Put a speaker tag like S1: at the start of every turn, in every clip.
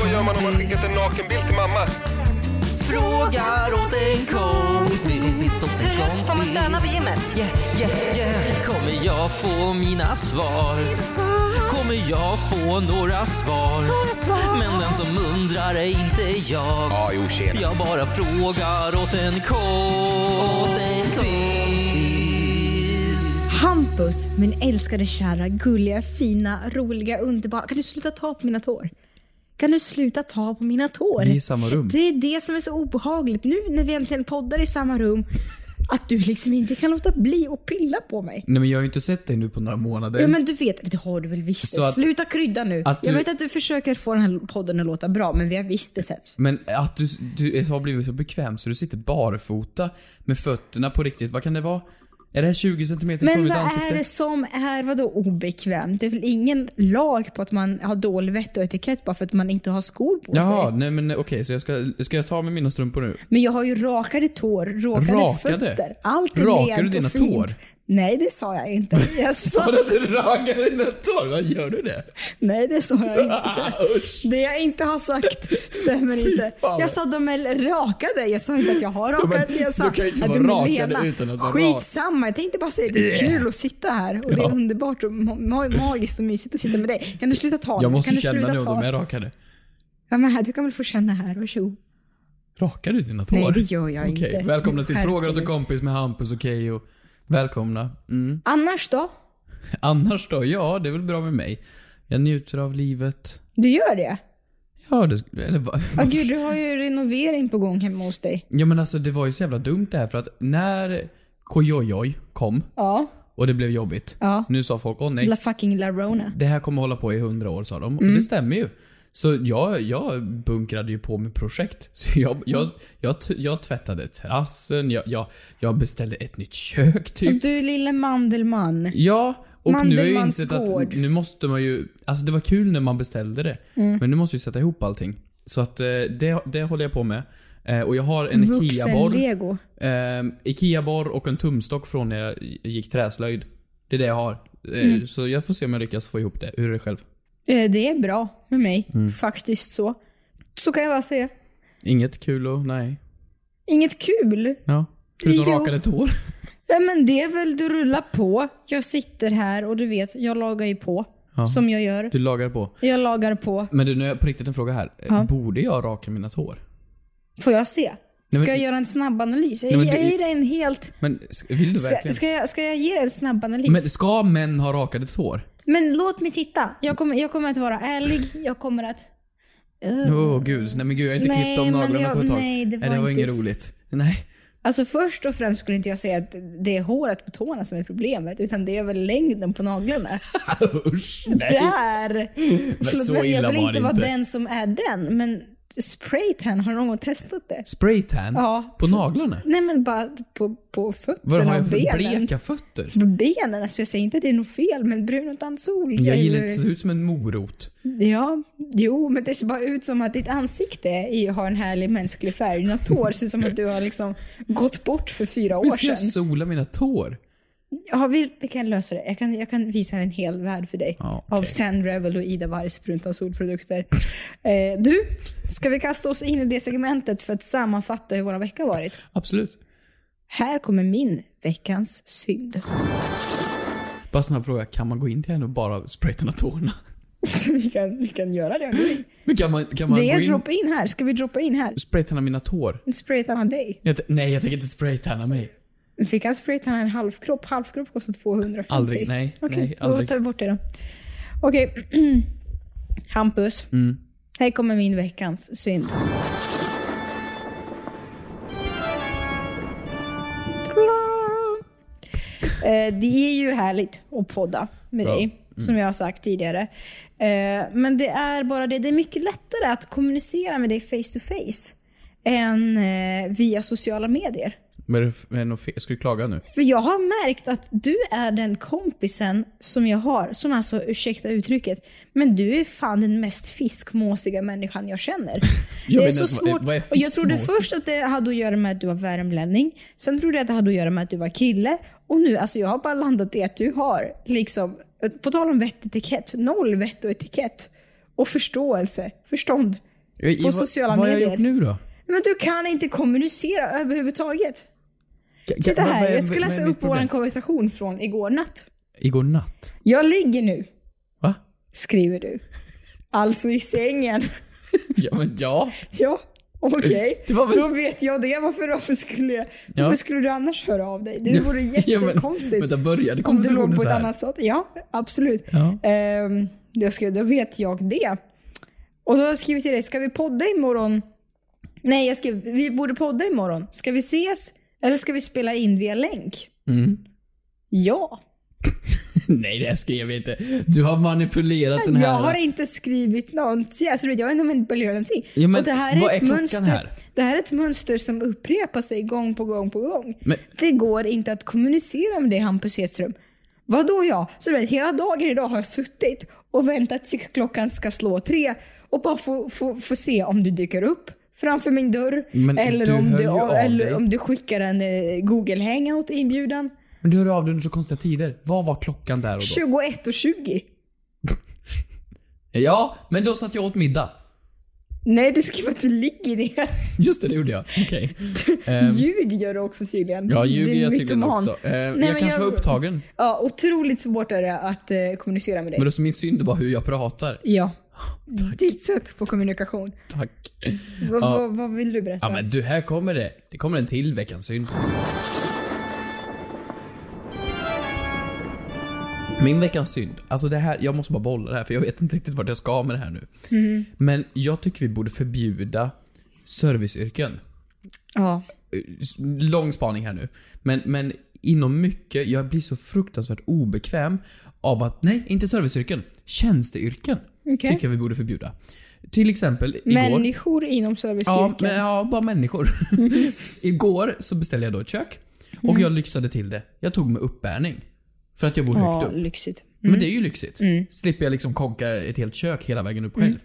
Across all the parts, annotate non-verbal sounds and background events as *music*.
S1: Vad gör man om man skickat en nakenbild till mamma?
S2: Frågar åt en kompis.
S1: Mm,
S3: Får man stöna på gymmet?
S2: Yeah, yeah, yeah. Kommer jag få mina svar? Kommer jag få några svar? Men den som undrar är inte jag.
S1: Ja, jo, tjena.
S2: Jag bara frågar åt en kompis.
S4: Hampus, min älskade kära, gulliga, fina, roliga, underbara. Kan du sluta ta på mina tår? Kan du sluta ta på mina tår?
S5: Vi är i samma rum.
S4: Det är det som är så obehagligt nu när vi äntligen poddar i samma rum. Att du liksom inte kan låta bli att pilla på mig.
S5: Nej men jag har ju inte sett dig nu på några månader.
S4: Ja men du vet, det har du väl visst.
S5: Så att-
S4: Sluta krydda nu.
S5: att
S4: Jag
S5: du-
S4: vet att du försöker få den här podden att låta bra, men vi har visst det sett.
S5: Men att du, du har blivit så bekväm så du sitter barfota med fötterna på riktigt. Vad kan det vara? Är det här 20 cm från
S4: Men
S5: mitt
S4: vad
S5: ansikte?
S4: är det som är vadå obekvämt? Det är väl ingen lag på att man har dålig vett och etikett bara för att man inte har skor på
S5: Jaha,
S4: sig?
S5: nej men okej så jag ska, ska jag ta med mina strumpor nu?
S4: Men jag har ju rakade tår, rakade,
S5: Rakade?
S4: fötter. Allt är
S5: Rakar
S4: rent
S5: du dina
S4: och fint.
S5: tår?
S4: Nej, det sa jag inte.
S5: *laughs*
S4: Jag sa,
S5: Vadå du raggar dina tår? Vad gör
S4: *laughs*
S5: du det?
S4: nej, det sa jag inte.
S5: *laughs* Ah, usch!
S4: Det jag inte har sagt stämmer inte.
S5: fan.
S4: Jag sa de är rakade. Jag sa inte att jag
S5: *laughs*
S4: har
S5: men
S4: rakade. Jag sa
S5: du kan ju inte
S4: att
S5: vara
S4: de är
S5: rakade utan att vara rak.
S4: Skitsamma, jag tänkte bara säga det är kul att sitta här. Och det är
S5: Ja.
S4: underbart och ma- ma- magiskt och mysigt att sitta med dig. Kan du sluta ta
S5: Jag
S4: nu?
S5: måste
S4: kan du
S5: känna
S4: sluta
S5: nu om
S4: ta-
S5: de är rakade.
S4: Ja, men här, du kan väl få känna här, varsågod.
S5: Rakar du dina tår?
S4: Nej, det gör jag
S5: Okej,
S4: inte.
S5: välkomna till
S4: Herregud.
S5: Frågar åt en kompis med Hampus och Keyyo. Välkomna. Mm.
S4: Annars då?
S5: Annars då? Ja, det är väl bra med mig. Jag njuter av livet.
S4: Du gör det?
S5: Ja, det... Eller vad?
S4: Ja, gud, du har ju renovering på gång hemma hos dig.
S5: Ja men alltså det var ju så jävla dumt det här för att när Kojojoj kom
S4: Ja.
S5: och det blev jobbigt.
S4: Ja.
S5: Nu sa folk åh nej,
S4: La fucking Larona.
S5: det här kommer hålla på i hundra år sa de. Och det stämmer ju. Så jag, jag bunkrade ju på med projekt. Så jag, jag, jag, t- jag tvättade terrassen, jag, jag, jag beställde ett nytt kök
S4: Och
S5: typ.
S4: du lille Mandelmann.
S5: Ja, och nu har jag ju
S4: Mandelmanns
S5: insett att
S4: gård.
S5: nu måste man ju... Alltså det var kul när man beställde det.
S4: Mm.
S5: Men nu måste vi sätta ihop allting. Så att eh, det, det håller jag på med. Eh, Och jag har en IKEA-borr.
S4: Vuxen-lego.
S5: Eh, Ikea-borr och en tumstock från när jag gick träslöjd. Det är det jag har. Eh,
S4: Mm.
S5: Så jag får se om jag lyckas få ihop det. Hur är det själv?
S4: Eh, Det är bra med mig.
S5: Mm.
S4: Faktiskt så. Så kan jag bara säga.
S5: Inget kul och nej.
S4: Inget kul.
S5: Ja. Förutom
S4: Jo.
S5: rakade tår. *laughs*
S4: Nej, men det är väl du rullar på. Jag sitter här och du vet, jag lagar ju på. Som jag gör.
S5: Du lagar på.
S4: Jag lagar på.
S5: Men du, nu har jag på riktigt en fråga här. Eh, Borde jag raka mina tår?
S4: Får jag se? Ska
S5: men-
S4: jag göra en snabb analys?
S5: men
S4: Jag, jag
S5: det-
S4: ger dig en helt...
S5: Men s- vill du
S4: Ska,
S5: verkligen?
S4: ska, jag, ska jag ge dig en snabb analys?
S5: Men ska män ha rakade tår?
S4: Men låt mig titta. Jag kommer, jag kommer att vara ärlig. Jag kommer att...
S5: Åh gud, nej men gud jag har inte
S4: Nej,
S5: klippt om
S4: men
S5: naglarna
S4: jag-
S5: på ett tag.
S4: nej, det var
S5: nej, det var
S4: inte
S5: inget
S4: s-
S5: roligt.
S4: *laughs*
S5: Nej.
S4: Alltså först och främst skulle inte jag säga att det är håret på tårna som är problemet, utan det är väl längden på naglarna.
S5: Usch. *laughs* Nej.
S4: Där! Förlåt,
S5: så
S4: men
S5: illa
S4: jag vill
S5: var
S4: inte
S5: det
S4: vara
S5: inte.
S4: den som är den, men spraytan, har någon gång testat det?
S5: Spraytan?
S4: Ja.
S5: På naglarna?
S4: Nej men bara på, på fötterna
S5: Vad har
S4: och
S5: jag för
S4: benen.
S5: bleka fötter?
S4: På benen, alltså jag säger inte att det är något fel, men brun utan sol.
S5: Jag gillar
S4: eller-
S5: inte, det ser ut som en morot.
S4: Ja, jo, men det ser bara ut som att ditt ansikte är, har en härlig mänsklig färg. Dina tår ser ut som att du har liksom gått bort för fyra år
S5: Men ska
S4: sedan.
S5: jag sola mina tår?
S4: Ja, vi, vi kan lösa det. Jag kan, jag kan visa en hel värld för dig.
S5: Ja, okej.
S4: Av Tan Rebel och Ida Wargs Bruntan solprodukter. Eh, du, ska vi kasta oss in i det segmentet för att sammanfatta hur vår vecka har varit?
S5: Absolut.
S4: Här kommer min veckans synd. *laughs*
S5: Bara en sån här fråga, kan man gå in till henne och bara spraytanna tårna? *laughs*
S4: vi, kan, vi kan göra det om du vill.
S5: Men kan man, kan man
S4: Det är
S5: gå in
S4: drop in här. Ska vi droppa in här?
S5: och spraytanna mina tår?
S4: Spraytanna dig.
S5: Jag, t- nej, jag tänker inte spraytanna mig.
S4: Vi kan spraytanna en halvkropp. Halvkropp kostar 250.
S5: Aldrig, nej,
S4: Okej,
S5: nej,
S4: då
S5: aldrig.
S4: tar vi bort det då. Okej. *clears throat* Hampus.
S5: Mm.
S4: Här kommer min veckans synd. Eh, Det är ju härligt att podda med
S5: Ja. Mm.
S4: dig, som jag har sagt tidigare. Eh, Men det är bara det, det är mycket lättare att kommunicera med dig face to face. än eh, via sociala medier.
S5: Men är det- är det något fel? Ska du klaga nu?
S4: För jag har märkt att du är den kompisen som jag har, som alltså, ursäkta uttrycket, men du är fan den mest fiskmåsiga människan jag känner.
S5: *laughs* Jag
S4: det är
S5: vet
S4: så
S5: inte ens vad-
S4: svårt.
S5: vad är
S4: och jag trodde
S5: fiskmåsig?
S4: först att det hade att göra med att du var värmlänning, sen trodde jag att det hade att göra med att du var kille, och nu alltså jag har bara landat i att du har, liksom, på tal om vett och etikett, noll vett och etikett. Och förståelse, förstånd.
S5: I- i-
S4: På sociala
S5: vad, Vad har jag
S4: medier.
S5: gjort nu då?
S4: Men du kan inte kommunicera överhuvudtaget. Titta
S5: Vad- vad
S4: här,
S5: är-
S4: jag ska
S5: vad är
S4: läsa
S5: mitt
S4: upp vår
S5: problem?
S4: konversation från igår natt.
S5: Igår natt?
S4: Jag ligger nu, *laughs*
S5: Va?
S4: skriver du. Alltså i sängen. *laughs*
S5: Ja, men ja.
S4: Ja, okej.
S5: Det var väl-
S4: Då vet jag det. Varför, varför, skulle, jag,
S5: Ja.
S4: varför skulle du annars höra av dig? Det vore
S5: *laughs* Ja, men-
S4: jättekonstigt.
S5: Vänta, började
S4: om du
S5: konversationen
S4: låg på
S5: så
S4: ett
S5: här?
S4: annat sätt. Ja, absolut.
S5: Ja.
S4: Ehm, jag skrev, då vet jag det. Och då har jag skrivit till dig, ska vi podda imorgon? Nej, jag skrev, vi borde podda imorgon. Ska vi ses? Eller ska vi spela in via länk?
S5: Mm.
S4: Ja.
S5: *laughs* Nej, det här skrev jag inte. Du har manipulerat den här.
S4: Jag har inte skrivit någonting. Alltså, du vet, jag har inte manipulerat någonting.
S5: Ja, men
S4: och det här är
S5: vad
S4: ett
S5: är klockan
S4: mönster,
S5: här?
S4: Det här är ett mönster som upprepar sig gång på gång på gång.
S5: Men-
S4: Det går inte att kommunicera med dig Hampus Hedström. Vadå jag? Så du vet, hela dagen idag har jag suttit och väntat tills klockan ska slå tre och bara få, få, få se om du dyker upp framför min dörr.
S5: Men du
S4: eller om
S5: hör
S4: du,
S5: ju av dig.
S4: eller om du skickar en eh, Google Hangout inbjudan.
S5: Men du hör av dig under så konstiga tider. Vad var klockan där och då?
S4: 21.20.
S5: Ja, men då satt jag åt middag. *laughs*
S4: Nej, du skrev att du ligger ner.
S5: Just det, det gjorde jag. Okej.
S4: Ljug gör du också tydligen.
S5: Ehm, Ja,
S4: Du är
S5: ljuger *laughs* jag tydligen
S4: mytoman.
S5: också. Eh, jag
S4: men
S5: kanske
S4: jag-
S5: var upptagen.
S4: Ja, otroligt svårt är det att eh, kommunicera med dig.
S5: Men då så min synd var hur jag pratar. *laughs*
S4: Ja. Ditt sätt på kommunikation.
S5: Tack.
S4: Va, va, vad vill du berätta?
S5: Ja men du, här kommer det. Det kommer en till veckans synd. Min veckans synd. Alltså det här, jag måste bara bolla det här för jag vet inte riktigt vart jag ska med det här nu. Men jag tycker vi borde förbjuda serviceyrken.
S4: ja.
S5: lång spaning här nu. Men, men inom mycket, jag blir så fruktansvärt obekväm av att, nej, inte serviceyrken. Tjänsteyrken.
S4: Okej.
S5: Tycker jag vi borde förbjuda. Till exempel igår.
S4: Människor inom serviceyrken.
S5: Ja, men, ja, bara människor. *laughs* igår så beställde jag då ett kök. Och jag lyxade till det. Jag tog med uppbärning. För att jag bor högt
S4: ja
S5: upp.
S4: lyxigt.
S5: Men det är ju lyxigt. Slipper jag liksom konka ett helt kök hela vägen upp själv.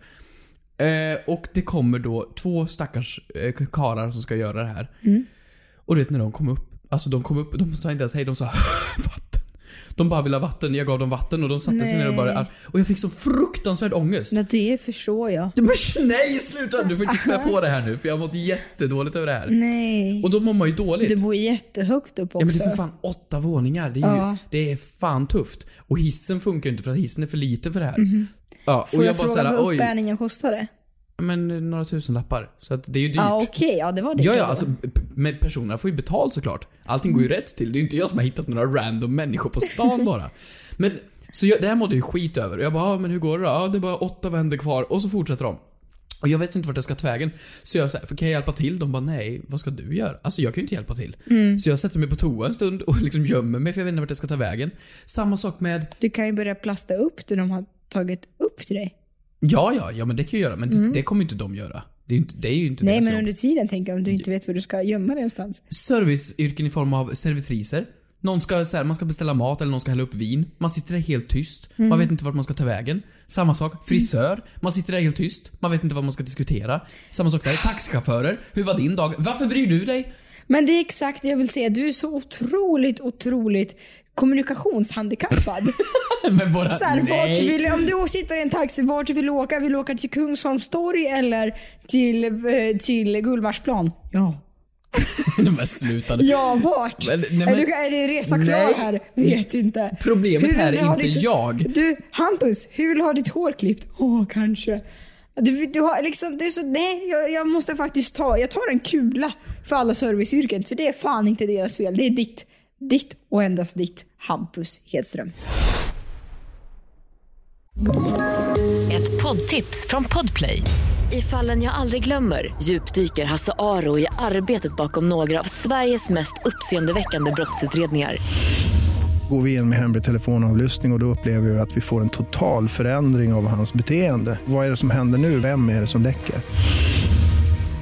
S5: Eh, och det kommer då två stackars eh, karlar som ska göra det här. Och du vet när de kom upp. Alltså de kom upp, de sa inte ens hej, de sa *laughs* vatten. De bara ville ha vatten, jag gav dem vatten och de satte sig ner och bara... Och jag fick så fruktansvärd ångest.
S4: Ja, det förstår jag.
S5: Men *laughs* nej sluta! Du får inte spä på det här nu för jag har mått jättedåligt över det här.
S4: Nej.
S5: Och då mår man ju dåligt.
S4: Du bor jättehögt upp
S5: Ja
S4: också.
S5: men det är för fan åtta våningar. Det är, ju,
S4: Ja.
S5: det är fan tufft. Och hissen funkar ju inte för att hissen är för lite för det här. Ja,
S4: Mhm. Får
S5: och
S4: jag,
S5: jag bara
S4: fråga
S5: såhär,
S4: vad
S5: oj.
S4: uppbärningen kostade?
S5: Men eh, några tusenlappar. Så att det är ju dyrt.
S4: Ja, okej. Ja, Mm. det var det.
S5: Ja,
S4: Det
S5: ja,
S4: var-
S5: alltså p- p- men personerna får ju betalt såklart. Allting går ju rätt till. Det är ju inte jag som har hittat några random människor på stan bara. Men, så jag, det här mådde jag ju skit över. Jag bara, ah, men hur går det då? Ja, det är bara åtta vänder kvar. Och så fortsätter de. Och jag vet inte vart jag ska ta vägen. Så jag säger, kan jag hjälpa till? De bara, nej, vad ska du göra? Alltså jag kan ju inte hjälpa till.
S4: Mm.
S5: Så jag sätter mig på toa en stund och *laughs* liksom gömmer mig för jag vet inte vart jag ska ta vägen. Samma sak med,
S4: Du kan ju börja plasta upp det de har tagit upp till dig.
S5: ja, ja, ja men det kan jag göra. Men det, det kommer ju inte de göra. Det är ju inte, det är ju inte
S4: Mm. Nej,
S5: deras
S4: men
S5: jobb.
S4: under tiden tänker jag om du inte vet var du ska gömma dig någonstans.
S5: serviceyrken i form av servitriser. Någon ska, så här, man ska beställa mat eller någon ska hälla upp vin. Man sitter där helt tyst.
S4: Mm.
S5: Man vet inte vart man ska ta vägen. Samma sak. Frisör. Man sitter där helt tyst. Man vet inte vad man ska diskutera. Samma sak där. Taxichaufförer. Hur var din dag? Varför bryr du dig? *laughs*
S4: Men det är exakt det jag vill säga. Du är så otroligt, otroligt kommunikationshandikappad.
S5: Men våra...
S4: Så här, vart
S5: Nej.
S4: vill, om du sitter i en taxi, vart vill du åka? Vill du åka till Kungsholms torg eller till, eh, till Gullmarsplan? Ja.
S5: Nej, *laughs* men sluta.
S4: Ja, vart?
S5: Men- nej, men-
S4: är, du, är det resa klar
S5: Nej.
S4: här? Vet inte.
S5: Problemet
S4: Hur vill
S5: här är
S4: du ha
S5: inte
S4: ditt,
S5: jag.
S4: Du, Hampus, hur vill du ha ditt hår klippt? Åh, kanske. Du, du har liksom, det är så, nej, jag, jag måste faktiskt ta, jag tar en kula för alla serviceyrken. För det är fan inte deras fel. Det är ditt. Ditt och endast ditt. Hampus Hedström.
S6: Ett poddtips från Podplay. I fallen jag aldrig glömmer djupdyker Hasse Aro i arbetet bakom några av Sveriges mest uppseendeväckande brottsutredningar.
S7: Går vi in med hemlig telefonavlyssning och, och då upplever vi att vi får en total förändring av hans beteende. Vad är det som händer nu? Vem är det som läcker?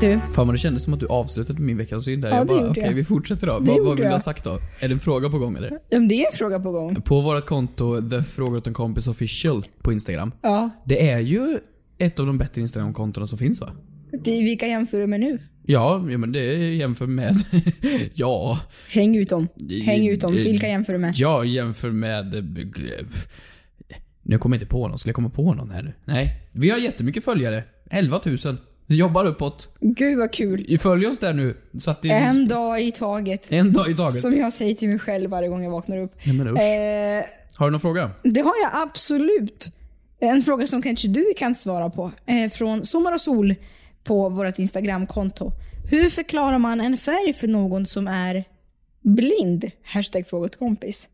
S4: Du.
S5: Fan vad det kändes som att du avslutade min veckans synd där.
S4: Ja,
S5: jag
S4: det
S5: bara,
S4: gjorde
S5: okej
S4: jag.
S5: vi fortsätter
S4: Det
S5: då. Vad,
S4: gjorde
S5: vad vill du ha
S4: jag.
S5: sagt då? Är det en fråga på gång eller?
S4: Ja, men det är en fråga på gång.
S5: På vårt konto, The Fråga åt en kompis official på Instagram.
S4: Ja.
S5: Det är ju ett av de bättre Instagram-kontona som finns va?
S4: Det, vilka jämför du med nu?
S5: Ja, ja men det är jämför med... *laughs* ja.
S4: Häng ut dem. Häng ut dem.
S5: Eh,
S4: Vilka jämför du med?
S5: Jag jämför med... eh, gl- f- Nu kommer jag inte på någon. Skulle jag komma på någon här nu? Nej. Vi har jättemycket följare. 11 000. Vi jobbar uppåt.
S4: Gud vad kul.
S5: Följ oss där nu. Så att det
S4: En dag i taget.
S5: En dag i taget.
S4: Som jag säger till mig själv varje gång jag vaknar upp.
S5: Nej, men usch.
S4: Eh,
S5: Har du någon fråga?
S4: det har jag absolut. En fråga som kanske du kan svara på. Eh, från Sommar och Sol på vårt Instagramkonto. Hur förklarar man en färg för någon som är blind? Hashtag fråga till kompis.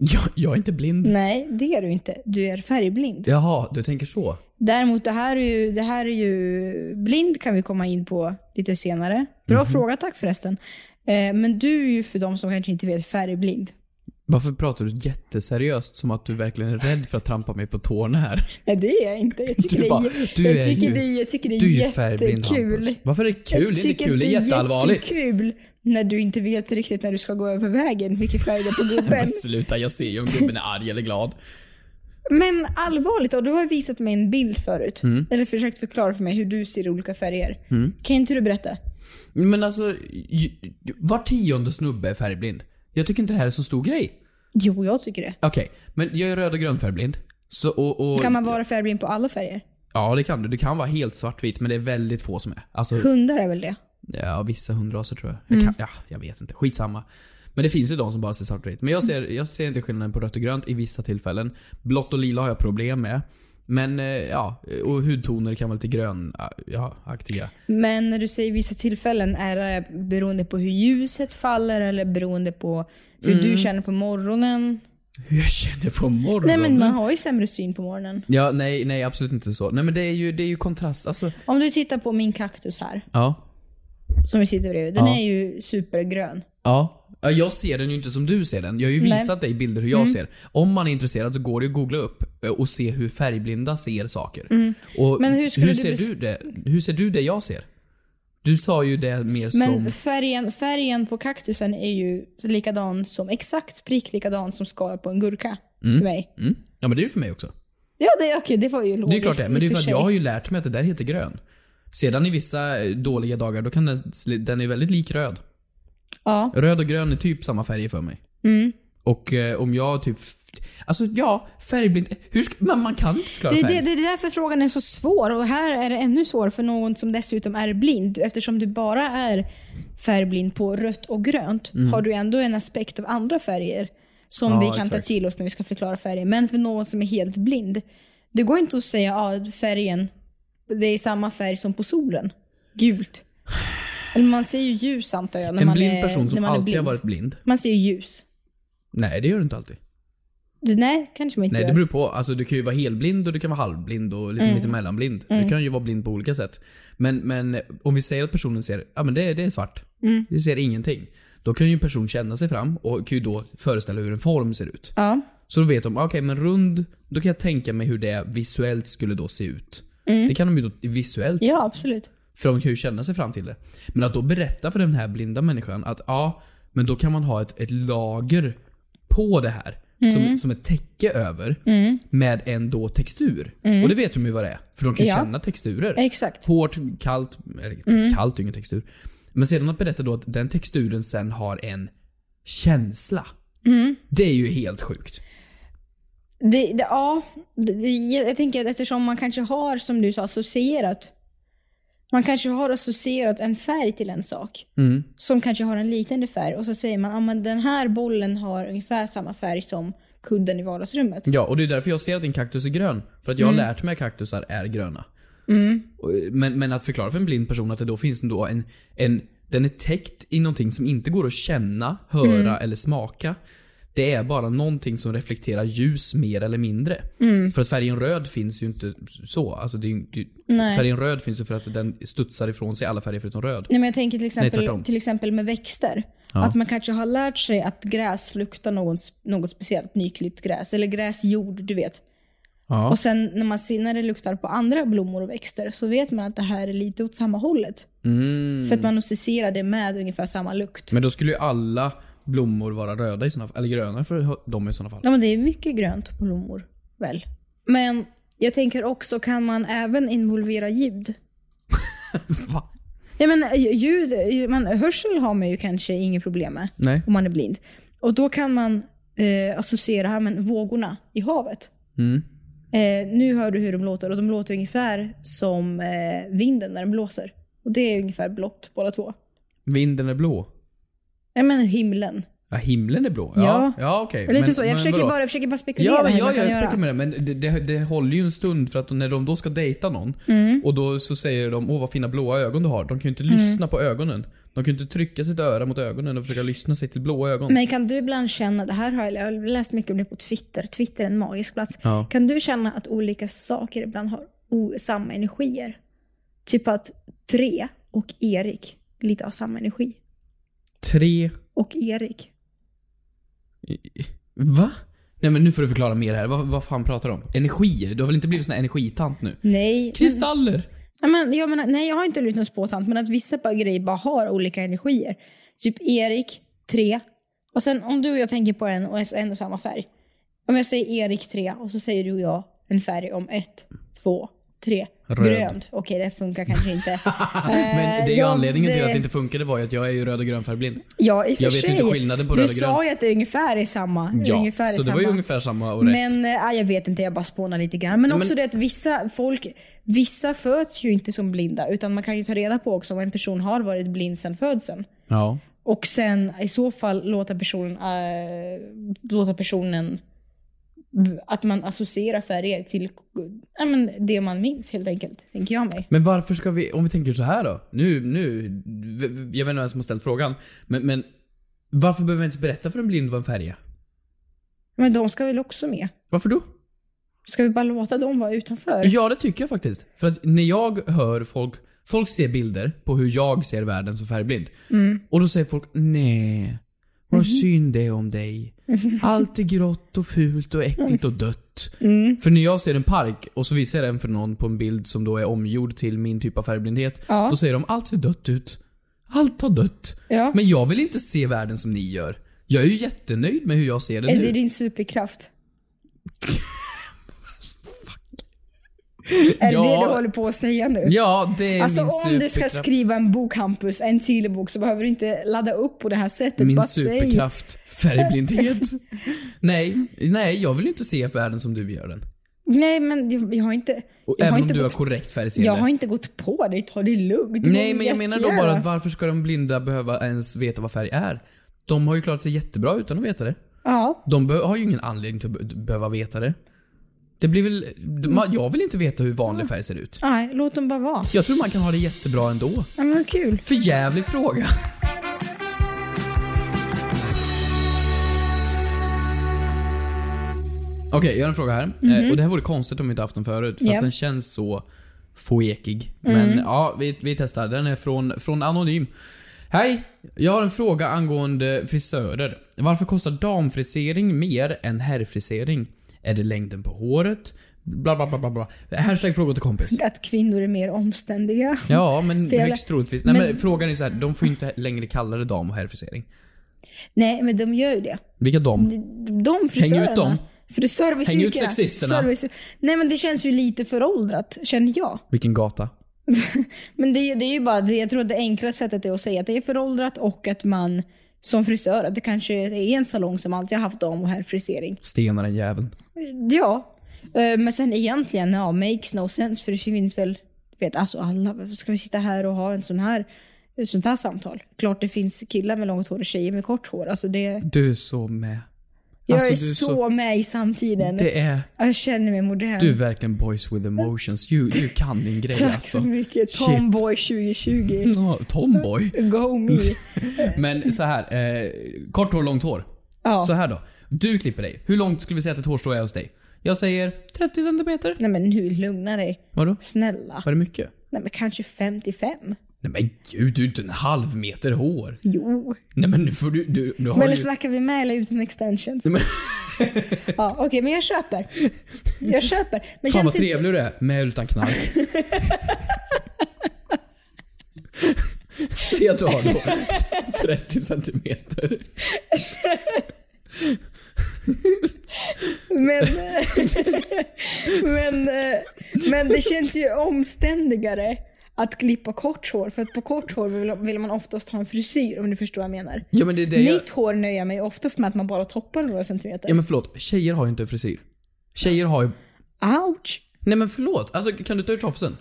S5: Jag, jag är inte blind.
S4: Nej, det är du inte. Du är färgblind.
S5: Jaha, du tänker så.
S4: Däremot, det här, är ju, det här är ju... Blind kan vi komma in på lite senare. Bra fråga, tack förresten. Eh, men du är ju för de som kanske inte vet färgblind.
S5: Varför pratar du jätteseriöst som att du verkligen är rädd för att trampa mig på tårna här?
S4: Nej, det är jag inte. Jag tycker,
S5: *laughs* Du
S4: det,
S5: bara,
S4: är, jä-
S5: du är
S4: jag tycker,
S5: ju-
S4: det, är- jag tycker det är
S5: Du är ju färgblind
S4: jättekul.
S5: Hampus. Varför är det kul? Det är inte kul, det är jätteallvarligt.
S4: Det är kul när du inte vet riktigt när du ska gå över vägen, vilken färg
S5: *laughs*
S4: det är på
S5: Men
S4: gubben.
S5: sluta, jag ser ju om gubben är arg eller glad.
S4: Men allvarligt, och du har visat mig en bild förut.
S5: Mm.
S4: Eller försökt förklara för mig hur du ser olika färger.
S5: Mm.
S4: Kan inte du berätta?
S5: Men alltså, ju- ju- var tionde snubbe är färgblind. Jag tycker inte det här är så stor grej.
S4: Jo, jag tycker det.
S5: Okej, men jag är röd och grön färgblind. Så, och, och,
S4: Kan man vara färgblind på alla färger?
S5: Ja, det kan du. Du kan vara helt svartvit, men det är väldigt få som är. Alltså,
S4: Hundar är väl det?
S5: ja, vissa hundraser tror jag. jag
S4: Mm.
S5: kan, ja, jag vet inte. Skitsamma. Men det finns ju de som bara ser svartvitt. Men jag ser, jag ser inte skillnaden på rött och grönt i vissa tillfällen. Blått och lila har jag problem med. Men eh, ja, och hudtoner kan vara lite ah, grönaktiga.
S4: Men när du säger vissa tillfällen, är det beroende på hur ljuset faller eller beroende på hur
S5: Mm.
S4: du känner på morgonen?
S5: Hur jag känner på morgonen.
S4: Nej men man har ju sämre syn på morgonen.
S5: Ja, nej, nej absolut inte så. Nej men det är ju, det är ju kontrast. Alltså,
S4: Om du tittar på min kaktus här,
S5: ja.
S4: som vi sitter bredvid. Den
S5: Ja.
S4: är ju supergrön.
S5: Ja. Ja, Jag ser den ju inte som du ser den. Jag har ju
S4: Nej.
S5: visat dig bilder hur jag
S4: Mm.
S5: ser. Om man är intresserad så går det ju att googla upp eh, och se hur färgblinda ser saker.
S4: Mm.
S5: Och
S4: Men hur skulle du
S5: ser
S4: bes-
S5: du det? Hur ser du det jag ser? Du sa ju det mer
S4: Men
S5: som...
S4: färgen, färgen på kaktusen är ju likadan som, exakt prick likadan som skalet på en gurka.
S5: Mm.
S4: För mig.
S5: Mm. Ja men det är ju för mig också.
S4: Ja, det, okej, det var ju logiskt
S5: Det är ju klart det, men det är
S4: i
S5: ju
S4: och
S5: för att
S4: sig.
S5: jag har ju lärt mig att det där heter grön. Sedan i vissa eh, dåliga dagar, då kan den, den är väldigt lik röd.
S4: Ja.
S5: Röd och grön är typ samma färger för mig.
S4: Mm.
S5: Och eh, om jag typ... Alltså ja, färgblind... Hur ska, men man kan inte förklara
S4: Det,
S5: färg.
S4: det, det är därför frågan är så svår och här är det ännu svårare för någon som dessutom är blind. Eftersom du bara är färgblind på rött och grönt
S8: Mm.
S4: har du ändå en aspekt av andra färger som
S8: Ja,
S4: vi kan ta
S8: exakt.
S4: till oss när vi ska förklara färger. Men för någon som är helt blind, det går inte att säga att ah, färgen, det är samma färg som på solen. Gult. Eller man ser ju ljus antar jag när
S5: en
S4: man
S5: blind
S4: är,
S5: person
S4: när
S5: som
S4: man är
S5: alltid har
S4: blind.
S5: varit blind.
S4: Man ser ju ljus.
S5: Nej, det gör du inte alltid.
S4: Du, nej, kanske man inte
S5: Nej, det
S4: gör.
S5: beror på. Alltså, du kan ju vara helblind och du kan vara halvblind och lite
S4: Mm.
S5: mittemellanblind.
S4: Mm.
S5: Du kan ju vara blind på olika sätt. Men, men om vi säger att personen ser, ja men det, det är svart.
S4: Mm.
S5: Vi ser ingenting. Då kan ju en person känna sig fram och kan ju då föreställa hur en form ser ut.
S4: Ja.
S5: Så då vet de, "Ah, okej men rund, då kan jag tänka mig hur det visuellt skulle då se ut.
S4: Mm.
S5: Det kan de ju då visuellt
S4: ja, absolut.
S5: För de kan ju känna sig fram till det. Men att då berätta för den här blinda människan att ja, men då kan man ha ett, ett lager på det här.
S4: Mm.
S5: Som, som ett täcke över.
S4: Mm.
S5: Med en då textur.
S4: Mm.
S5: Och det vet de ju vad det är. För de kan
S4: Ja.
S5: känna texturer.
S4: Exakt.
S5: Hårt, kallt, eller
S4: Mm.
S5: kallt är ju ingen textur. Men sedan att berätta då att den texturen sen har en känsla.
S4: Mm.
S5: Det är ju helt sjukt.
S4: Det, det, ja, det, det, jag jag tänker att eftersom man kanske har, som du sa, associerat. Man kanske har associerat en färg till en sak.
S5: Mm.
S4: Som kanske har en liknande färg och så säger man att ah, men den här bollen har ungefär samma färg som kudden i vardagsrummet.
S5: Ja, och det är därför jag ser att din kaktus är grön. För att jag
S4: Mm.
S5: har lärt mig att kaktusar är gröna.
S4: Mm.
S5: Och, eh, Men, men att förklara för en blind person att det då finns ändå en, en... Den är täckt i någonting som inte går att känna, höra
S4: Mm.
S5: eller smaka. Det är bara någonting som reflekterar ljus mer eller mindre.
S4: Mm.
S5: För att färgen röd finns ju inte så. Alltså det är, ju- det,
S4: Nej.
S5: färgen röd finns ju för att den studsar ifrån sig alla färger förutom röd.
S4: Nej, men jag tänker till
S5: Nej,
S4: exempel,
S5: tvärtom.
S4: till exempel med växter.
S5: Ja.
S4: Att man kanske har lärt sig att gräs luktar något, något speciellt, nyklippt gräs. Eller gräsjord, du vet.
S5: Ja.
S4: Och sen när man ser när det luktar på andra blommor och växter så vet man att det här är lite åt samma hållet.
S5: Mm.
S4: För att man associerar det med ungefär samma lukt.
S5: Men då skulle ju alla blommor vara röda i såna fall. Eller gröna för dem i såna fall.
S4: Ja, men det är mycket grönt på blommor, väl? Men jag tänker också, kan man även involvera ljud?
S5: *laughs* Va?
S4: Ja, men eh, ljud, eh, man, hörsel har man ju kanske inget problem med.
S5: Nej.
S4: om man är blind. Och då kan man eh, associera här med vågorna i havet.
S5: Mm.
S4: Eh, nu hör du hur de låter och de låter ungefär som eh, vinden när den blåser. Och det är ungefär blått båda två.
S5: Vinden är blå.
S4: Jag menar himlen.
S5: Ja, himlen är blå.
S4: Ja.
S5: Ja, ja okej.
S4: Eller Lite
S5: Men-
S4: så. Jag
S5: men
S4: försöker,
S5: vadå?
S4: bara, jag försöker bara spekulera
S5: Ja, men
S4: hur man
S5: jag,
S4: kan
S5: jag
S4: göra.
S5: spekulerar med det. Men det, det, det håller ju en stund för att när de då ska dejta någon
S4: Mm.
S5: och då så säger de åh vad fina blåa ögon du har. De kan ju inte
S4: Mm.
S5: lyssna på ögonen. De kan ju inte trycka sitt öra mot ögonen och försöka lyssna sig till blåa ögon.
S4: Men kan du ibland känna, det här har jag, jag har läst mycket om det på Twitter, Twitter är en magisk plats.
S5: Ja.
S4: Kan du känna att olika saker ibland har o- samma energier? Typ att tre och Erik lite har samma energi.
S5: Tre...
S4: Och Erik.
S5: Va? Nej men nu får du förklara mer här. Vad, vad fan pratar du om? Energier? Du har väl inte blivit sån här energitant nu?
S4: Nej.
S5: Kristaller?
S4: Nej, men, jag menar, nej, jag har inte blivit någon spåtant, men att vissa bara grejer bara har olika energier. Typ Erik, tre. Och sen om du och jag tänker på en och en och samma färg. Om jag säger Erik, tre och så säger du och jag en färg om ett, två, tre.
S5: Röd.
S4: Grönt. Okej, det funkar kanske
S5: *laughs*
S4: inte.
S5: Men det är ju
S4: jag-
S5: anledningen till
S4: Eh, det-
S5: att det inte funkade var ju att jag är ju röd och grön färgblind.
S4: Ja, i och för
S5: Jag vet
S4: sig.
S5: inte skillnaden på
S4: Du
S5: röd och grön.
S4: sa ju att det är ungefär är samma.
S5: Ja,
S4: ungefär är
S5: så det
S4: samma.
S5: var ju ungefär samma och rätt.
S4: Men äh, jag vet inte, jag bara spånar lite grann. Men
S5: Men-
S4: också det att vissa folk, vissa föds ju inte som blinda utan man kan ju ta reda på också om en person har varit blind sedan födseln.
S5: Ja.
S4: Och sen i så fall låta personen, äh, låta personen att man associerar färger till ja, men det man minns helt enkelt, tänker jag mig.
S5: Men varför ska vi, om vi tänker så här då. Nu, nu, v- v- jag vet inte vem som har ställt frågan. Men, men varför behöver vi ens berätta för en blind vad en färg är?
S4: Men de ska väl också med?
S5: Varför då?
S4: Ska vi bara låta dem vara utanför?
S5: Ja, det tycker jag faktiskt. För att när jag hör folk, folk ser bilder på hur jag ser världen som färgblind.
S4: Mm.
S5: Och då säger folk nej, vad
S4: Mhm.
S5: synd det är
S4: *laughs*
S5: om dig. Allt är grått och fult och äckligt och dött.
S4: Mm.
S5: För när jag ser en park och så visar jag den för någon på en bild som då är omgjord till min typ av färgblindhet.
S4: Ja.
S5: Då säger de allt ser dött ut. Allt har dött.
S4: Ja.
S5: Men jag vill inte se världen som ni gör. Jag är ju jättenöjd med hur jag ser den
S4: Är
S5: nu.
S4: det din
S5: *laughs*
S4: superkraft?
S5: Alltså,
S4: Är det det du håller på att säga nu?
S5: Ja, det är
S4: Alltså
S5: min
S4: om du ska
S5: superkraft.
S4: skriva en bok Hampus, en silebok, så behöver du inte ladda upp på det här sättet.
S5: Min
S4: Bara säg-
S5: superkraft, färgblindhet.
S4: *laughs*
S5: nej, nej, jag vill ju inte se världen som du gör den.
S4: Nej men jag, jag har inte...
S5: Och
S4: jag har
S5: även om
S4: inte
S5: du har
S4: gått,
S5: korrekt
S4: Jag
S5: färgseende.
S4: har inte gått på dig, ta det lugnt. Du
S5: Nej,
S4: får
S5: men jag menar då
S4: jättegärna-
S5: bara att varför ska de blinda behöva ens veta vad färg är? De har ju klarat sig jättebra utan att veta det.
S4: Ja.
S5: De be- har ju ingen anledning till att be- behöva veta det. Det blir väl... ma- Jag vill inte veta hur vanlig färg ser ut.
S4: Nej, låt dem bara vara.
S5: Jag tror man kan ha det jättebra ändå.
S4: Ja, men vad kul.
S5: För jävlig fråga. Okej, jag har en fråga här. Eh, Och Det här vore konstigt om vi inte haft den förut, för
S8: Ja.
S5: att den känns så foekig.
S8: Mm.
S5: Men ja, vi, vi testar. Den är från, från Anonym. Hej! Jag har en fråga angående frisörer. Varför kostar damfrisering mer än herrfrisering? Är det längden på håret? Bla, bla, bla, bla, bla. Hashtag frågor till kompis.
S4: Att kvinnor är mer omständiga.
S5: Ja, men
S4: Mm. För jävla-
S5: högst troligtvis. Nej, men,
S4: Men-
S5: frågan är så här, de får inte längre kalla det dam och herrfrisering.
S4: Nej, men de gör ju det.
S5: Vilka dam?
S4: De- De frisörerna.
S5: Häng ut dem.
S4: För serviceyrkena.
S5: Häng ut sexisterna.
S4: Service, nej men det känns ju lite föråldrat, känner jag.
S5: Vilken gata?
S4: Men det, det är ju bara, det- jag tror att det enkla sättet är att säga att det är föråldrat och att man som frisör, att det kanske är en salong som alltid har haft dam och herrfrisering.
S5: Stenar den jäveln.
S4: Ja. Eh, Men sen egentligen, ja, makes no sense för det finns väl, du vet alltså alla, varför ska vi sitta här och ha en sån här, ett sånt här samtal? Klart det finns killar med långt hår och tjejer med kort hår. Alltså det,
S5: Du är så med.
S4: jag
S5: Alltså,
S4: är
S5: du
S4: så, med i samtiden.
S5: Det är...
S4: Jag känner mig modern.
S5: Du är verkligen boys with emotions. You, you kan din grej
S4: Mm. Tack
S5: alltså.
S4: så mycket.
S5: Shit. Mm.
S4: Tomboy 2020. *laughs*
S5: Ja, Tomboy? *laughs*
S4: Go me.
S5: Men så här, eh, kort hår, långt hår.
S4: Ja.
S5: Så här då. Du klipper dig. Hur långt skulle vi säga att ett hårstrå är hos dig? Jag säger 30 centimeter.
S4: Nej men nu, lugna dig.
S5: Vadå?
S4: Snälla.
S5: Var det mycket?
S4: Nej men kanske 55.
S5: Nej men gud, du är inte en halv meter hår.
S4: Jo.
S5: Nej men nu får du... du, du har
S4: Men
S5: ju...
S4: snackar vi med eller utan extensions?
S5: Nej, men-
S4: *laughs* ja, Okej, men jag köper. Jag köper. Men
S5: Fan vad
S4: känns inte-
S5: trevlig du är. Med eller
S4: *laughs*
S5: utan knark. Säg att du har då 30 centimeter.
S4: Men,
S5: *laughs*
S4: men, eh, men det känns ju omständigare att klippa kort hår. För att på kort hår vill- vill man oftast ha en frisyr om du förstår vad jag menar.
S5: Ja men det är det jag...
S4: Mitt hår nöjer jag mig oftast med att man bara toppar några centimeter.
S5: Ja men förlåt, tjejer har ju inte frisyr. Tjejer har ju...
S4: Ouch!
S5: Nej men förlåt, alltså kan du ta ur tofsen?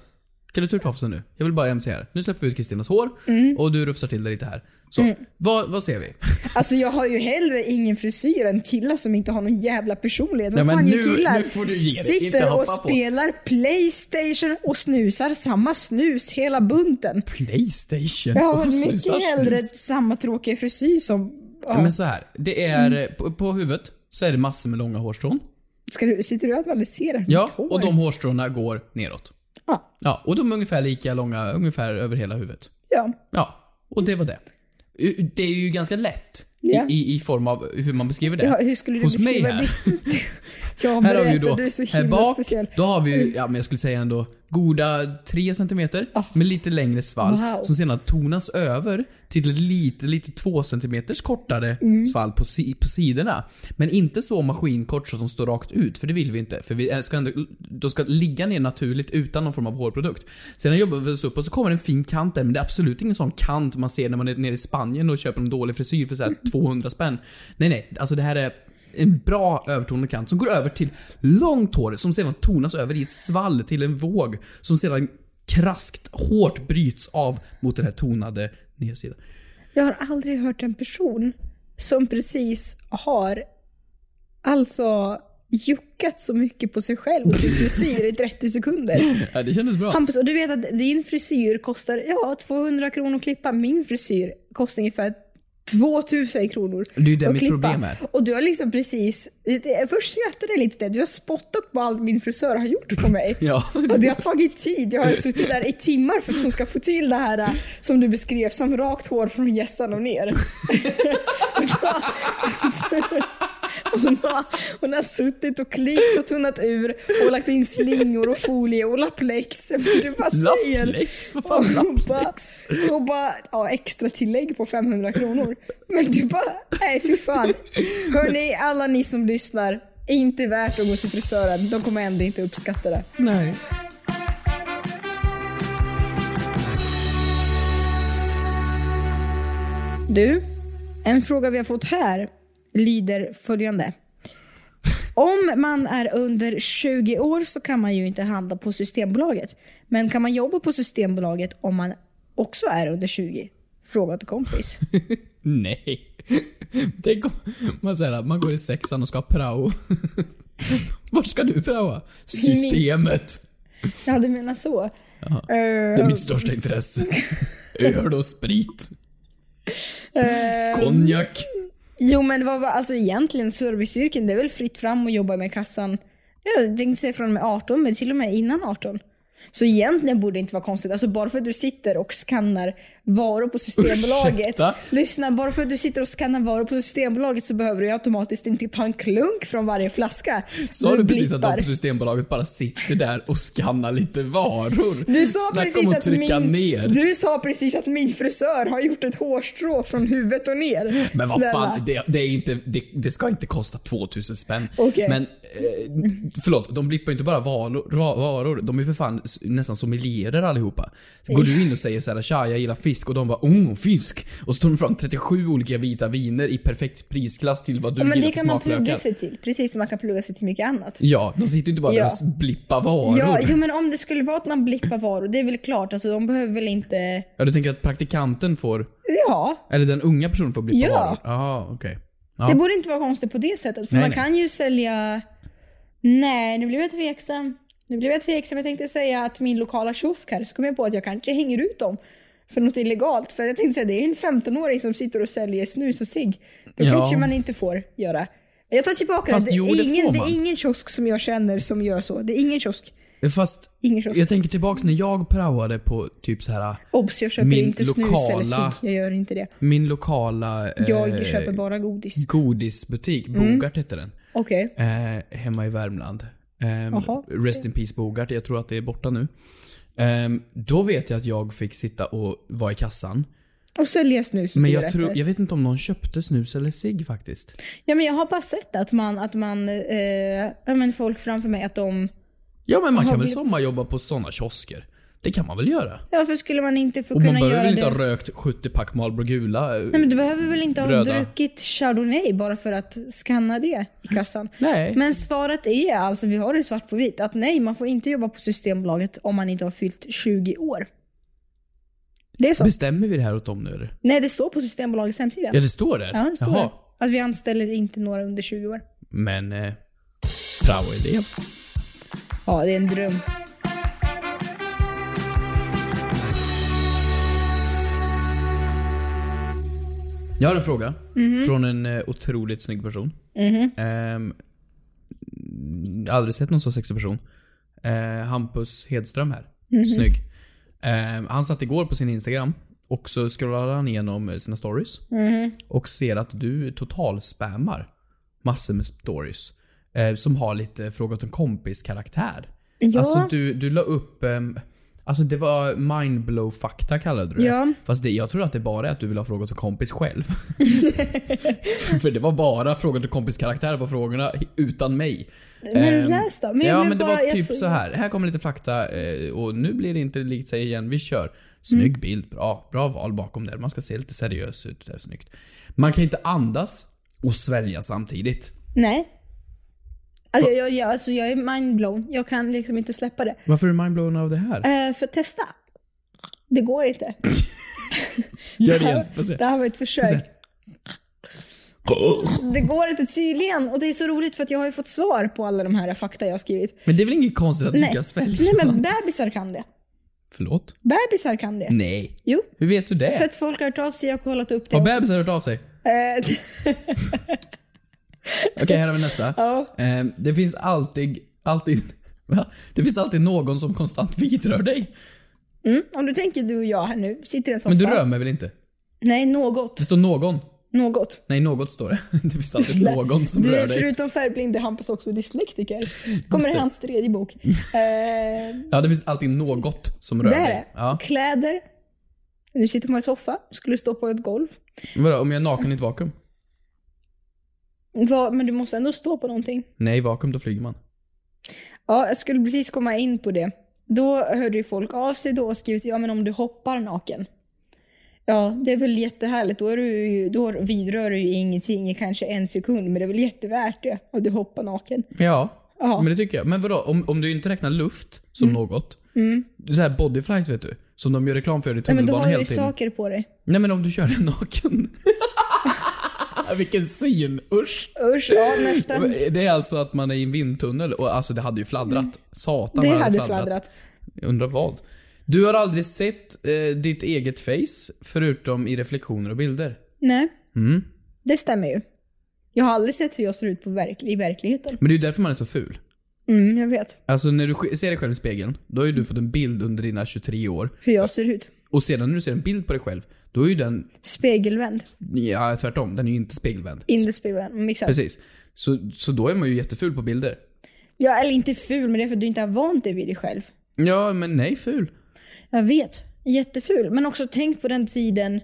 S5: Kan du ta ur tofsen nu? Jag vill bara MC här. Nu släpper vi ut Kristinas hår
S4: Mm.
S5: och du rufsar till det lite här. Så, vad, vad ser vi? *laughs*
S4: Alltså jag har ju hellre ingen frisyr än killar som inte har någon jävla personlighet.
S5: Nej,
S4: Vad
S5: men
S4: fan gör
S5: nu-
S4: killar?
S5: nu får du ge dig.
S4: Sitter
S5: Inte hoppa
S4: och
S5: på.
S4: spelar Playstation och snusar samma snus hela bunten.
S5: Playstation
S4: Jag har
S5: och
S4: mycket
S5: snusar
S4: hellre
S5: snus.
S4: samma tråkiga frisyr som...
S5: Ja,
S4: Ja.
S5: men så här. Det är... På, på huvudet så är det massor med långa hårstrån.
S4: Ska du, sitter du och analyserar mitt
S5: Ja,
S4: hår?
S5: och de hårstråna går neråt.
S4: Ja.
S5: Ja, och de är ungefär lika långa, ungefär över hela huvudet.
S4: Ja.
S5: Ja, och det var det. U- Det är ju ganska lätt
S4: Ja.
S5: i, i, i form av hur man beskriver det.
S4: ja. Hur skulle du
S5: Hos mig
S4: beskriva
S5: här.
S4: ditt... *laughs* ja,
S5: Här har vi ju
S4: berätta,
S5: då,
S4: du är så
S5: här
S4: himla
S5: bak,
S4: speciell. Mm.
S5: då har vi ju, ja men jag skulle säga ändå, goda 3 cm med lite längre svall
S4: Ah. Wow.
S5: som sedan tonas över till ett lite, lite 2 cm kortare
S4: Mm.
S5: svall på, si, på sidorna. Men inte så maskinkort så som står rakt ut, för det vill vi inte. För vi eh, ska ändå, de ska ligga ner naturligt utan någon form av hårprodukt. Sedan jobbar vi oss upp och så kommer en fin kant där, men det är absolut ingen sån kant man ser när man är nere i Spanien och köper en dålig frisyr
S4: *laughs*
S5: för så här 200 spänn. Nej, nej, alltså det här är en bra övertonad kant som går över till långt hår som sedan tonas över i ett svall till en våg som sedan kraskt hårt bryts av mot den här tonade nedsidan.
S4: Jag har aldrig hört en person som precis har alltså juckat så mycket på sig själv och sin frisyr i 30 sekunder.
S5: Ja, det kändes bra.
S4: Hampus, och du vet att din frisyr kostar ja, 200 kronor att klippa. Min frisyr kostar ungefär 2000 kronor
S5: Det är ju det
S4: att
S5: mitt
S4: klippa.
S5: problem är.
S4: Och du har liksom precis... Först skrattade jag lite åt det. Du har spottat på allt min frisör har gjort på mig.
S5: Ja.
S4: Och det har tagit tid. Jag har suttit där i timmar för att hon ska få till det här eh, som du beskrev som rakt hår från hjässan och ner. *laughs* Hon har, hon har suttit och klippt och tunnat ur och lagt in slingor och folie och laplex. Men du bara säger...
S5: Laplex? Vad
S4: Och
S5: fan
S4: hon bara,
S5: laplex?
S4: och bara ja, extra tillägg på 500 kronor. Men du bara, nej fy fan. Hörni, alla ni som lyssnar, inte värt att gå till frisören. De kommer ändå inte uppskatta det.
S5: Nej.
S4: Du, en fråga vi har fått här lyder följande. Om man är under 20 år så kan man ju inte handla på Systembolaget. Men kan man jobba på Systembolaget om man också är under 20? Fråga till
S5: *laughs*
S4: kompis.
S5: Nej. Tänk om man, så här, man går i sexan och ska prao. Vart ska du praoa? Systemet.
S4: Ja, du menar så?
S5: Det är
S4: Eh,
S5: mitt största intresse. Öl och sprit.
S4: eh,
S5: Konjak.
S4: jo, men vad, vad- alltså egentligen serviceyrken, det är väl fritt fram att jobba med kassan. Jag tänkte säga från och med 18, men till och med innan 18. Så egentligen borde det inte vara konstigt. Alltså bara för att du sitter och skannar varor på Systembolaget.
S5: Ursäkta?
S4: Lyssna, bara för att du sitter och skannar varor på Systembolaget så behöver du ju automatiskt inte ta en klunk från varje flaska.
S5: Sa du precis att de
S4: blippar.
S5: på Systembolaget bara sitter där och skannar lite varor?
S4: Du sa,
S5: Snacka
S4: precis
S5: om
S4: att
S5: att trycka
S4: min,
S5: ner.
S4: du sa precis att min frisör har gjort ett hårstrå från huvudet och ner.
S5: Men vad
S4: Snälla.
S5: fan, det, det, är inte, det, det ska inte kosta 2000 spänn.
S4: Okej.
S5: Men, eh, förlåt, de blippar ju inte bara varor, ra- varor de är ju för fan s- nästan sommelierer allihopa. Så går du in och säger såhär “tja, jag gillar fisk” och de bara “oh, fisk” och så tar de fram 37 olika vita viner i perfekt prisklass till vad du
S4: Ja, men
S5: gillar
S4: det
S5: för
S4: kan man plugga
S5: smaklökar.
S4: sig till. Precis som man kan plugga sig till mycket annat.
S5: Ja, de sitter ju inte bara där
S4: Ja.
S5: och s- blippar varor.
S4: Ja, jo, men om det skulle vara att man blippar varor, det är väl klart. Alltså, de behöver väl inte...
S5: ja, du tänker att praktikanten får
S4: Ja,
S5: Eller den unga personen får blippa
S4: Ja.
S5: varor? Jaha, okej. Ja.
S4: det borde inte vara konstigt på det sättet. För
S5: Nej,
S4: man
S5: nej.
S4: kan ju sälja... Nej, nu blev jag tveksam. Nu blev jag tveksam. Jag tänkte säga att min lokala kiosk här, så kom jag på att jag kanske hänger ut dem. för något illegalt. För jag tänkte säga, det är en 15-åring som sitter och säljer snus och cigg. Det
S5: Ja.
S4: kanske man inte får göra. Jag tar tillbaka
S5: Fast
S4: det.
S5: jo,
S4: det,
S5: det
S4: är ingen,
S5: får
S4: det
S5: man.
S4: är ingen kiosk som jag känner som gör så. Det är ingen kiosk.
S5: Fast
S4: Ingen kiosk.
S5: jag tänker tillbaks när jag praoade på typ så här
S4: Obs, jag köper
S5: Min
S4: inte snus eller
S5: lokala-
S4: cigg. Jag gör inte det.
S5: min lokala eh,
S4: Jag köper bara godis.
S5: godisbutik,
S4: Mm.
S5: Bogart hette den.
S4: Okej.
S5: Eh, hemma i Värmland. Ehm,
S4: Jaha.
S5: rest in peace Bogart, jag tror att det är borta nu. Ehm, då vet jag att jag fick sitta och vara i kassan.
S4: Och sälja snus och
S5: Men jag,
S4: cigaretter.
S5: tror, jag vet inte om någon köpte snus eller cigg faktiskt.
S4: Ja, men jag har bara sett att man, att man, eh, ja, men folk framför mig att de,
S5: Ja men man
S4: Jaha,
S5: kan väl
S4: blir-
S5: sommarjobba på sådana kiosker? Det kan man väl göra?
S4: ja, varför skulle man inte få
S5: Och man
S4: kunna
S5: behöver
S4: göra
S5: väl
S4: det?
S5: inte ha rökt 70 pack Marlboro gula? eh,
S4: Nej men du behöver väl inte ha
S5: Röda.
S4: druckit Chardonnay bara för att scanna det i kassan?
S5: *laughs* Nej.
S4: Men svaret är alltså, vi har det svart på vitt, att nej man får inte jobba på Systembolaget om man inte har fyllt 20 år. Det är så.
S5: Bestämmer vi det här åt dem nu eller?
S4: nej det står på Systembolagets hemsida.
S5: Ja det står där?
S4: Alltså. Ja, det står
S5: Jaha.
S4: där. Att vi anställer inte några under 20 år.
S5: Men... Eh, prao-elev.
S4: Mm-hmm. Ja, det är en dröm.
S5: Jag har en fråga.
S4: Mhm.
S5: Från en eh, otroligt snygg person.
S4: Mhm.
S5: Ehm, mm, aldrig sett någon så sexig person. Eh, Hampus Hedström här.
S8: Mhm.
S5: Snygg. Ehm, han satt igår på sin Instagram och så scrollade han igenom eh, sina stories.
S8: Mhm.
S5: Och ser att du totalspammar massor med stories. Eh, som har lite fråga åt en kompis karaktär.
S4: Ja.
S5: Alltså du, du la upp... ehm, alltså det var mindblow-fakta kallade du det.
S4: Ja.
S5: Fast det, jag tror att det bara är att du vill ha frågor till kompis själv. *laughs* För det var bara frågor till kompis karaktär på frågorna utan mig.
S4: Men
S5: Ehm,
S4: läs då. Men
S5: ja,
S4: jag
S5: men det
S4: bara-
S5: var
S4: jag
S5: typ
S4: så-
S5: så här. Här kommer lite fakta eh, och nu blir det inte likt sig igen. Vi kör. Snygg
S8: Mm.
S5: bild, bra. Bra val bakom där. Man ska se lite seriös ut. Det är snyggt. Man kan inte andas och svälja samtidigt.
S4: Nej. Alltså, jag, jag, jag, alltså, jag är mindblown. Jag kan liksom inte släppa det.
S5: Varför är du mindblown av det här?
S4: Eh, för testa. Det går inte.
S5: Gör det igen. Får
S4: *laughs*
S5: se.
S4: Det här var ett
S5: Får se.
S4: försök. Det går inte tydligen. Och det är så roligt för att jag har ju fått svar på alla de här fakta jag har skrivit.
S5: Men det är väl inget konstigt att du kan svälja?
S4: Nej men bebisar kan det.
S5: Förlåt?
S4: Bebisar kan det.
S5: Nej.
S4: Jo.
S5: Hur vet du det?
S4: För att folk har hört av sig, jag har kollat upp det.
S5: Har bebisar hört av sig?
S4: Eh,
S5: Okej, här har vi nästa.
S4: Ja.
S5: Ehm, det finns alltid, alltid, *laughs* va? Det finns alltid någon som konstant vidrör dig.
S4: mm, om du tänker du och jag här nu, sitter i en soffa.
S5: Men du rör mig väl inte?
S4: Nej, något.
S5: Det står någon.
S4: Något.
S5: Nej, något står det. *laughs* Det finns alltid någon som
S4: Du
S5: rör
S4: är
S5: dig.
S4: förutom färgblind är Hampus också dyslektiker. Kommer i
S5: det.
S4: hans tredje bok.
S5: *laughs*
S4: Eh,
S5: Ja, det finns alltid något som rör
S4: Det är
S5: dig.
S4: det.
S5: Ja.
S4: Kläder. Nu sitter man i en soffa, skulle stå på ett golv.
S5: Vadå, om jag är naken i ett vakuum?
S4: Va, men du måste ändå stå på någonting.
S5: Nej, i vakuum då flyger man.
S4: Ja, jag skulle precis komma in på det. Då hörde ju folk av sig då och skrivit ja men om du hoppar naken. Ja, det är väl jättehärligt. Då, är du, ju- då vidrör du ju ingenting i kanske en sekund, men det är väl jättevärt det att du hoppar naken.
S5: Ja,
S4: Ja.
S5: men det tycker jag. Men vadå, om, om du inte räknar luft som något.
S4: Mm.
S5: Så här bodyflight vet du. Som de gör reklam för i
S4: Nej, men då
S5: tunnelbanan
S4: har du
S5: hela
S4: ju
S5: tiden.
S4: saker på dig.
S5: Nej men om du kör den naken. *laughs* Vilken syn, usch.
S4: Usch, ja
S5: *laughs*
S4: nästa.
S5: Det är alltså att man är i en vindtunnel och alltså det hade ju fladdrat. Satan
S4: Mm. Det
S5: vad
S4: hade fladdrat.
S5: Jag Undrar vad. Du har aldrig sett eh, ditt eget face förutom i reflektioner och bilder.
S4: Nej,
S5: Mm.
S4: det stämmer ju. Jag har aldrig sett hur jag ser ut på verk- i verkligheten.
S5: Men det är ju därför man är så ful.
S4: Mm, jag vet.
S5: Alltså när du sk- ser dig själv i spegeln, då har ju du fått en bild under dina 23 år.
S4: Hur jag ser ut.
S5: Och sedan när du ser en bild på dig själv, då är ju den,
S4: Spegelvänd.
S5: ja tvärtom, den är ju inte spegelvänd.
S4: Inte spegelvänd. men Exakt.
S5: Precis. Så, så då är man ju jätteful på bilder.
S4: Ja, eller inte ful, men det är för att du inte har vant dig vid dig själv.
S5: Ja, men nej ful.
S4: Jag vet. Jätteful. Men också tänk på den tiden.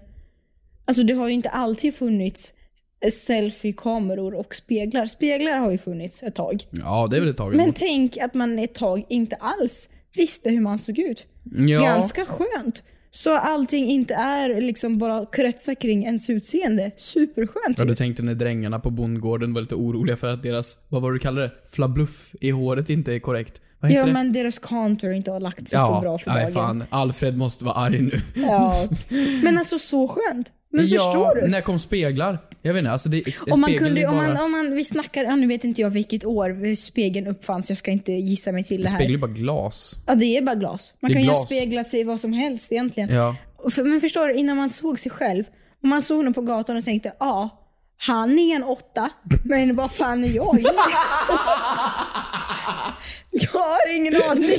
S4: Alltså det har ju inte alltid funnits eh, selfie-kameror och speglar. Speglar har ju funnits ett tag.
S5: Ja, det är väl ett tag
S4: Men
S5: emot.
S4: tänk att man ett tag inte alls visste hur man såg ut.
S5: Ja.
S4: Ganska skönt. Så allting inte är liksom bara kretsar kring ens utseende. Superskönt.
S5: Ja, du tänkte när drängarna på bondgården var lite oroliga för att deras, vad var det du kallade det? Flabluff i håret inte är korrekt. Vad heter
S4: Ja,
S5: det?
S4: men deras contour inte har lagt sig så bra för
S5: nej,
S4: dagen.
S5: fan. Alfred måste vara arg nu. *laughs*
S4: Ja. Men alltså så skönt. Men
S5: ja,
S4: förstår du?
S5: när kom speglar? Jag vet inte, alltså det,
S4: Om man
S5: spegeln
S4: kunde,
S5: är
S4: om
S5: bara,
S4: man, om man, vi snackar, ja, nu vet inte jag vilket år spegeln uppfanns, jag ska inte gissa mig till det
S5: spegel är
S4: här.
S5: bara glas.
S4: Ja, det är bara glas. Man
S5: Det är
S4: kan ju
S5: glas.
S4: *laughs* spegla sig i vad som helst egentligen.
S5: Ja.
S4: för, men förstår du, innan man såg sig själv. Och man såg honom på gatan och tänkte, ja, han är en åtta, men vad fan är jag? *laughs* jag har ingen aning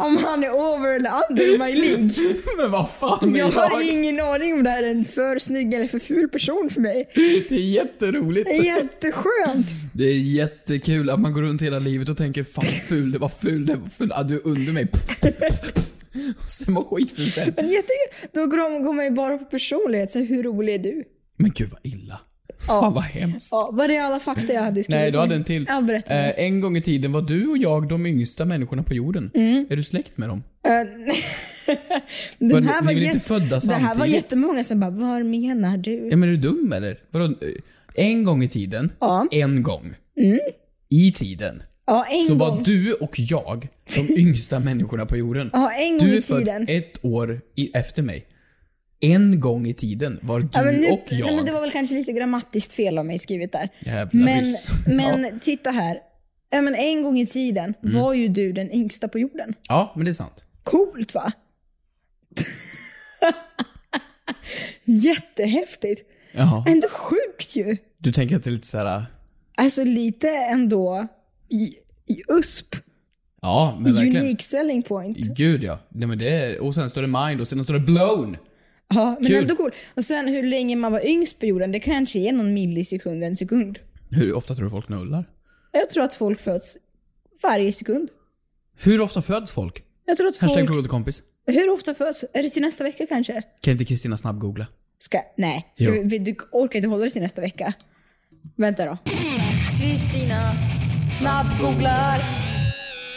S4: om han är over eller under my league.
S5: Men vad fan är
S4: Jag
S5: jag?
S4: har ingen aning om det här är en för snygg eller för ful person för mig.
S5: Det är jätteroligt.
S4: Det är jätteskönt.
S5: Det är jättekul att man går runt hela livet och tänker fan vad ful, det var ful, det var ful, ah, du är under mig. Och sen var skitful själv.
S4: Men jätte, då går, de, går man ju bara på personlighet. Så här, hur rolig är du?
S5: Men gud vad illa.
S4: Ja.
S5: Fan vad hemskt.
S4: Ja, var det alla fakta jag hade skrivit?
S5: Nej, du hade
S4: ner?
S5: en till.
S4: Ja, berätta.
S5: Eh, en gång i tiden var du och jag de yngsta människorna på jorden.
S4: Mm.
S5: Är du släkt med dem?
S4: Eh,
S5: Var
S4: den
S5: ni-
S4: här
S5: ni
S4: var
S5: var inte
S4: jätte-
S5: födda
S4: Det här var
S5: samtidigt?
S4: jättemånga som bara, vad menar du?
S5: Ja, men är du dum eller? Vadå? eh, En gång i tiden, en gång,
S4: Mm.
S5: i tiden,
S4: Ja, en
S5: så
S4: gång.
S5: var du och jag
S4: *laughs*
S5: de yngsta människorna på jorden.
S4: Ja, en gång
S5: du är
S4: i tiden.
S5: född ett år i, efter mig. En gång i tiden var du
S4: Ja, men nu,
S5: och jag.
S4: Nej, men det var väl kanske lite grammatiskt fel av mig skrivet där.
S5: Jävla
S4: Men,
S5: viss.
S4: men
S5: Ja.
S4: titta här. Ja, men en gång i tiden
S5: Mm.
S4: var ju du den yngsta på jorden.
S5: ja, men det är sant.
S4: Coolt va? *laughs* Jättehäftigt.
S5: Jaha.
S4: Ändå sjukt ju.
S5: Du tänker att det är lite såhär...
S4: Alltså lite ändå i, i USP.
S5: Ja, men verkligen.
S4: Unique selling point.
S5: Gud ja. Nej, men det är, och sen står det mind och sen står det blown.
S4: Ja, men
S5: Kul.
S4: ändå cool. Och sen hur länge man var yngst på jorden, det kanske är någon millisekund, en sekund.
S5: Hur ofta tror du folk knullar?
S4: Jag tror att folk föds varje sekund.
S5: Hur ofta föds folk?
S4: Jag tror att
S5: Hashtag
S4: folk...
S5: fråga kompis.
S4: Hur ofta föds? Är det till nästa vecka kanske?
S5: Kan inte Kristina snabbgoogla?
S4: Ska... Nej. Ska
S5: Jo.
S4: vi... Du orkar inte hålla det till nästa vecka. Vänta då. Kristina snabbgooglar.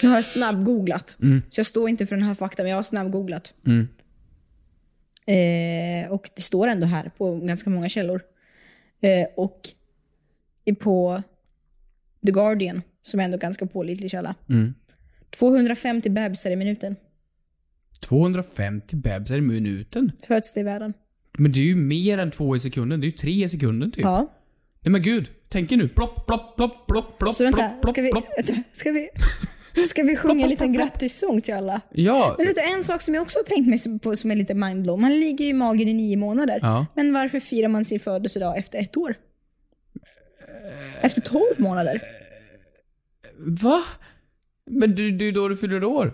S4: Jag har snabbgooglat.
S5: Mm.
S4: Så jag står inte för den här faktan, men jag har snabbgooglat.
S5: Mm.
S4: Eh, och det står ändå här på ganska många källor. Eh, och i- på The Guardian, som är ändå ganska pålitlig källa.
S5: Mm.
S4: 250 bebisar i minuten
S5: 250 bebisar i minuten?
S4: föds det i världen.
S5: Men det är ju mer än två i sekunden. Det är ju tre i sekunden typ.
S4: Ja.
S5: Nej men gud. Tänk er nu. Plopp, plopp, plopp, plopp, plopp,
S4: Så vänta,
S5: plopp, plopp,
S4: ska vi,
S5: plopp.
S4: vänta, ska vi, ska vi sjunga en liten grattissång till alla? *laughs*
S5: Ja.
S4: Men vet du, en sak som jag också har tänkt mig som- på som är lite mindblown. Man ligger ju i magen i nio månader.
S5: Ja.
S4: Men varför firar man sin födelsedag efter ett år? Efter tolv månader?
S5: Va? Men du, det är ju då du fyller år.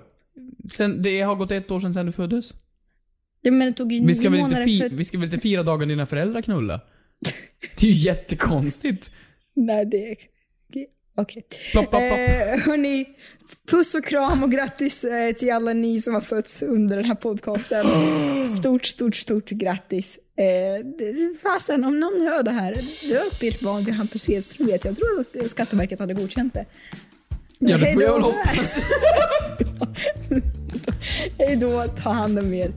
S5: Sen, det har gått ett år sedan, sedan du föddes.
S4: Ja, men det tog ju nio
S5: Vi ska, väl inte
S4: månader
S5: fi-
S4: för att...
S5: vi ska väl inte fira dagen dina föräldrar knulla? Det är ju jättekonstigt.
S4: Nej, det... Okej. Okay.
S5: Plopp, plopp, plopp.
S4: Eh, hörni, puss och kram och grattis eh, till alla ni som har fötts under den här podcasten. *gasps* Stort, stort, stort grattis. Eh, det- fasen, om någon hör det här, döp ert barn till Hampus Hedström vet jag. Jag tror att Skatteverket hade godkänt det.
S5: Ja, det får jag väl
S4: Hej då.
S5: hoppas.
S4: Hej då, ta hand om er.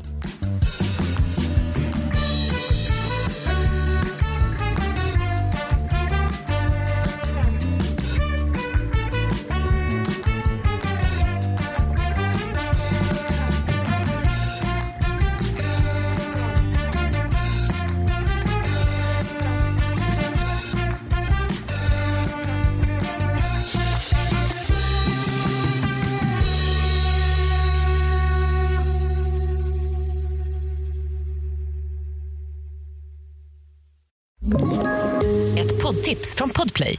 S6: Ett poddtips från Podplay.